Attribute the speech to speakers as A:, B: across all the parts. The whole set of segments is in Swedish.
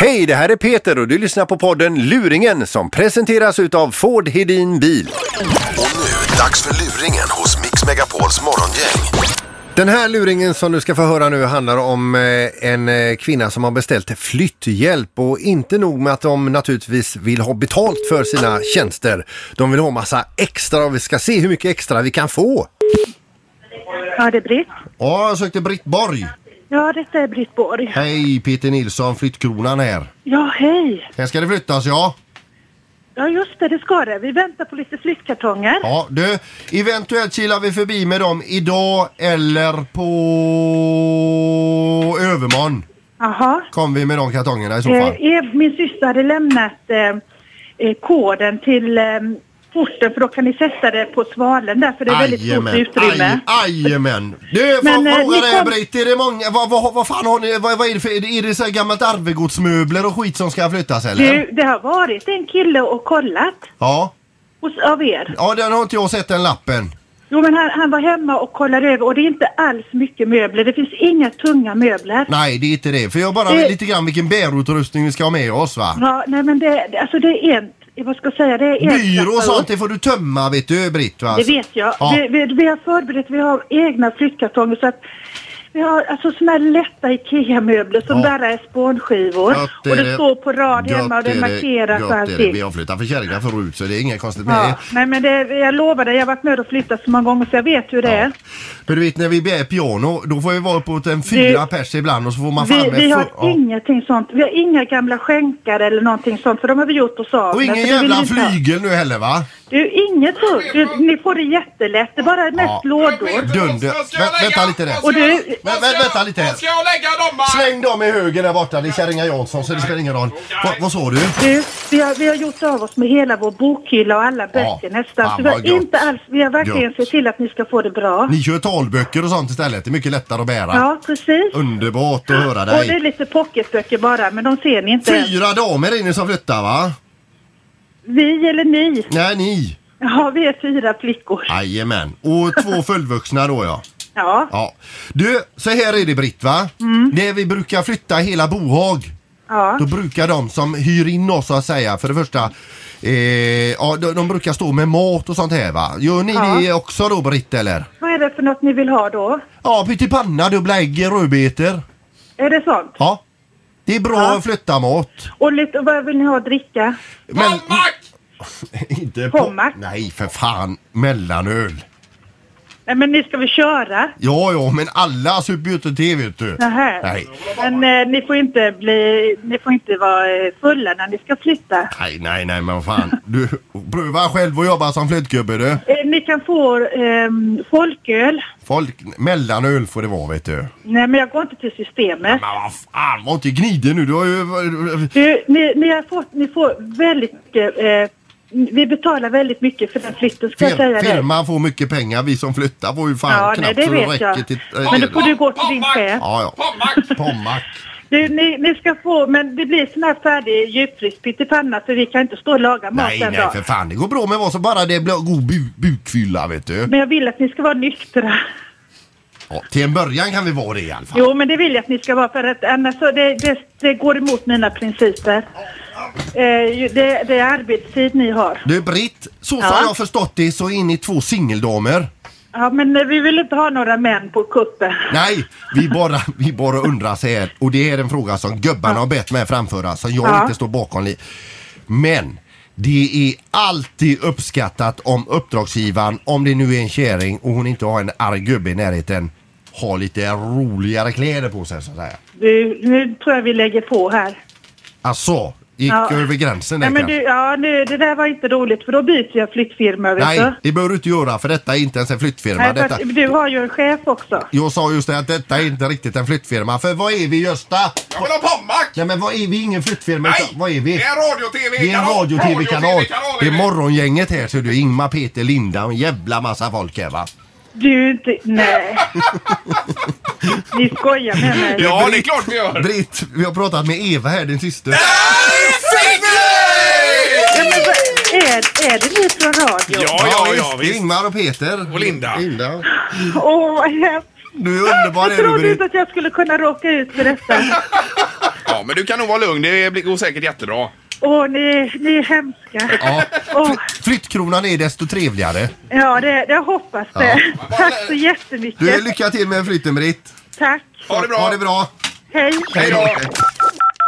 A: Hej, det här är Peter och du lyssnar på podden Luringen som presenteras utav Ford Hedin Bil.
B: Och nu, dags för luringen hos Mix Megapols morgongäng.
A: Den här luringen som du ska få höra nu handlar om eh, en eh, kvinna som har beställt flytthjälp och inte nog med att de naturligtvis vill ha betalt för sina tjänster. De vill ha massa extra och vi ska se hur mycket extra vi kan få.
C: Ja, det är Britt.
A: Ja, jag sökte Britt Borg.
C: Ja, detta är Britt Borg.
A: Hej, Peter Nilsson, flyttkronan här.
C: Ja, hej.
A: Här ska det flyttas ja.
C: Ja, just det, det ska det. Vi väntar på lite flyttkartonger.
A: Ja, du, eventuellt kilar vi förbi med dem idag eller på övermorgon.
C: Jaha.
A: Kom vi med de kartongerna i så
C: Eh,
A: fall.
C: Ev, min syster hade lämnat eh, eh, koden till eh, porten för då kan ni sätta det på svalen där för det är väldigt stort utrymme.
A: Aj, ajamän. Du, får
C: Men, eh,
A: fråga
C: ni
A: dig
C: kom-
A: Britt, är det många, vad, vad, vad fan har ni, vad, vad är det för, är det, är det så här gammalt arvegodsmöbler och skit som ska flyttas eller?
C: Du, det har varit en kille och kollat
A: Ja.
C: hos, av er.
A: Ja, den har inte jag sett den lappen.
C: Jo, men han, han var hemma och kollade över och det är inte alls mycket möbler. Det finns inga tunga möbler.
A: Nej, det är inte det. För jag bara
C: Det-
A: vet lite grann vilken bärutrustning vi ska ha med oss va?
C: Ja, nej men det, det- alltså det är en, vad ska jag säga, det är en
A: Byrå och
C: trappa upp.
A: sånt, det får du tömma vet du Britt va?
C: Det vet jag.
A: Alltså, Ja.
C: Vi, vi, vi har förberett, vi har egna flyttkartonger så att vi har alltså såna här lätta IKEA-möbler som
A: Ja.
C: bara är spånskivor.
A: Gött är
C: Och det står på rad hemma och
A: Gött
C: det
A: är
C: är markerat
A: Gött
C: och
A: är det. Vi
C: allting.
A: har flyttat för kärringar förut så det är inget konstigt med det.
C: Ja. Nej men det, jag lovar dig, jag har varit med och flyttat så många gånger så jag vet hur det är.
A: Men du vet när vi bär piano då får vi vara uppåt en fyra pers ibland och så får man fram
C: Vi,
A: en
C: vi har
A: fu- ja.
C: ingenting sånt. Vi har inga gamla skänkar eller någonting sånt för de har vi gjort hos Saab.
A: Och ingen jävla flygel nu heller va?
C: Du, inget så. Du, ni får det jättelätt. Det bara är mest
A: Ja.
C: lådor.
A: Dunder. Vä- vänta lite där.
C: Och du,
A: Vä- vä- vänta lite här.
D: Ska jag lägga dem va?
A: Släng dem i höger där borta, det är kärringar Jansson så det spelar ingen roll. Va, vad sa du?
C: Du, vi har, vi har gjort av oss med hela vår bokhylla och alla böcker nästan.
A: Fan,
C: Så vi
A: vad
C: har,
A: gött.
C: inte alls, vi har verkligen
A: Gött.
C: sett till att ni ska få det bra.
A: Ni kör talböcker och sånt istället, det är mycket lättare att bära.
C: Ja, precis.
A: Underbart att höra
C: Och det är
A: dig.
C: lite pocketböcker bara, men de ser ni inte. än.
A: Fyra damer är ni som flyttar va?
C: Vi eller ni?
A: Nej ni.
C: Ja, vi är fyra flickor.
A: Jajamän. Och två fullvuxna då ja.
C: Ja,
A: Ja. Du, så här är det Britt va? När vi brukar flytta hela bohag.
C: Mm. ja.
A: Då brukar de som hyr in oss så att säga för det första eh, ja, de, de brukar stå med mat och sånt här va? Gör ni
C: Ja.
A: det också då Britt eller?
C: Vad är det för något ni vill ha då?
A: Ja, pyttipanna, dubbla ägg, rödbetor.
C: Är det sånt?
A: Ja. Det är bra
C: Ja.
A: att flytta mat.
C: Och lite, vad vill ni ha att dricka?
A: Men
D: Palmack!
A: inte
C: Pommack.
A: Nej för fan, mellanöl.
C: Nej, men ni ska väl köra?
A: Ja, ja, men alla super ju inte te vet du.
C: Nähä.
A: Nej.
C: Men eh, ni får inte bli, ni får inte vara eh, fulla när ni ska flytta.
A: Nej, nej, nej, men vad fan. Du, pröva själv att jobba som flyttgubbe du.
C: Eh, ni kan få eh, folköl.
A: Folk, mellanöl får det vara vet du.
C: Nej, men jag går inte till systemet.
A: Men vad fan, var inte gnidig nu. Du har ju... eh,
C: Du, ni, ni, har fått, ni får väldigt mycket, eh, vi betalar väldigt mycket för den flytten ska jag säga
A: Fir,
C: dig.
A: firman får mycket pengar, vi som flyttar får ju fan
C: Ja, nej,
A: knappt
C: det
A: så
C: vet
A: räcker
C: jag.
A: till... eh,
C: Men då får du gå till din
D: Pommack!
C: chef.
A: Ja, ja.
D: Pommack!
A: Pommack.
C: Du, ni, ni ska få, men det blir sån här färdig djupfryst pyttipanna för vi kan inte stå och laga mat
A: Nej,
C: den
A: nej, för
C: dagen.
A: fan. Det går bra med vad som bara det blir god bu bukfylla vet du.
C: Men jag vill att ni ska vara nyktra.
A: Ja, till en början kan vi vara det i alla fall.
C: Jo, men det vill jag att ni ska vara för att annars så det, det, det går emot mina principer. Eh, ju- det, det är arbetstid ni har.
A: Du Britt, så som
C: Ja.
A: jag har förstått det så är ni två singeldamer.
C: Ja, men eh, vi vill inte ha några män på kuppen.
A: Nej, vi bara, vi bara undrar så här. Och det är en fråga som gubbarna har bett mig framföra som jag
C: Ja.
A: inte står bakom. li- Men det är alltid uppskattat om uppdragsgivaren, om det nu är en kärring och hon inte har en arg gubbe i närheten, har lite roligare kläder på sig så att säga.
C: Du, nu tror jag vi lägger på här.
A: Alltså, gick
C: Ja.
A: över gränsen där
C: Nej, men
A: kanske?
C: du, ja, nu, det där var inte roligt för då byter jag flyttfirma. Vet
A: Nej,
C: du?
A: det behöver du inte göra för detta är inte ens en flyttfirma.
C: Nej,
A: detta...
C: fast du har ju en chef också.
A: Jag sa just det att detta är inte riktigt en flyttfirma. För vad är vi Gösta?
D: Jag vill ha Pommack!
A: Nej men vad är vi? Ingen flyttfirma.
D: Nej!
A: utan Vad är vi?
D: Det är en
A: Vi
D: radio-tv-kanal!
A: är en radio-tv-kanal. Det är
D: är
A: morgongänget här ser du. Ingmar, Peter, Linda och en jävla massa folk här va.
C: Du är inte... Nej. Ni skojar med mig.
D: Ja, det är klart vi gör!
A: Britt, vi har pratat med Eva här, din syster.
C: Ja, men vad, är, är det ni från radio?
D: Ja, ja, ja,
A: visst. Det är
D: visst.
A: Ingmar och Peter.
D: Och Linda.
A: Linda.
C: Åh, vad hemskt.
A: Du är underbar
C: Jag
A: är du
C: trodde inte
A: Britt.
C: att jag skulle kunna råka ut för detta.
D: Ja, men du kan nog vara lugn. Det blir- går säkert jättebra.
C: Åh, ni, ni är hemska.
E: Ja.
C: Åh,
E: Fly- Flyttkronan är desto trevligare.
C: ja, det, jag hoppas det. Tack så jättemycket.
E: Du, lycka till med flytten Britt.
C: Tack.
D: Ha det bra.
E: Ha det bra.
C: Hej.
D: Hej då.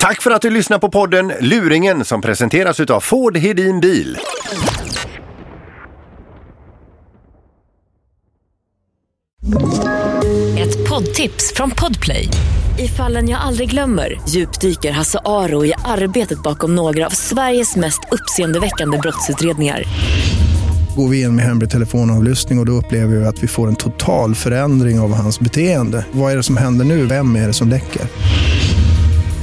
A: Tack för att du lyssnar på podden Luringen som presenteras utav Ford Hedin Bil.
F: Ett poddtips från Podplay. I fallen jag aldrig glömmer djupdyker Hasse Aro i arbetet bakom några av Sveriges mest uppseendeväckande brottsutredningar.
G: Går vi in med hemlig telefonavlyssning och, och då upplever vi att vi får en total förändring av hans beteende. Vad är det som händer nu? Vem är det som läcker?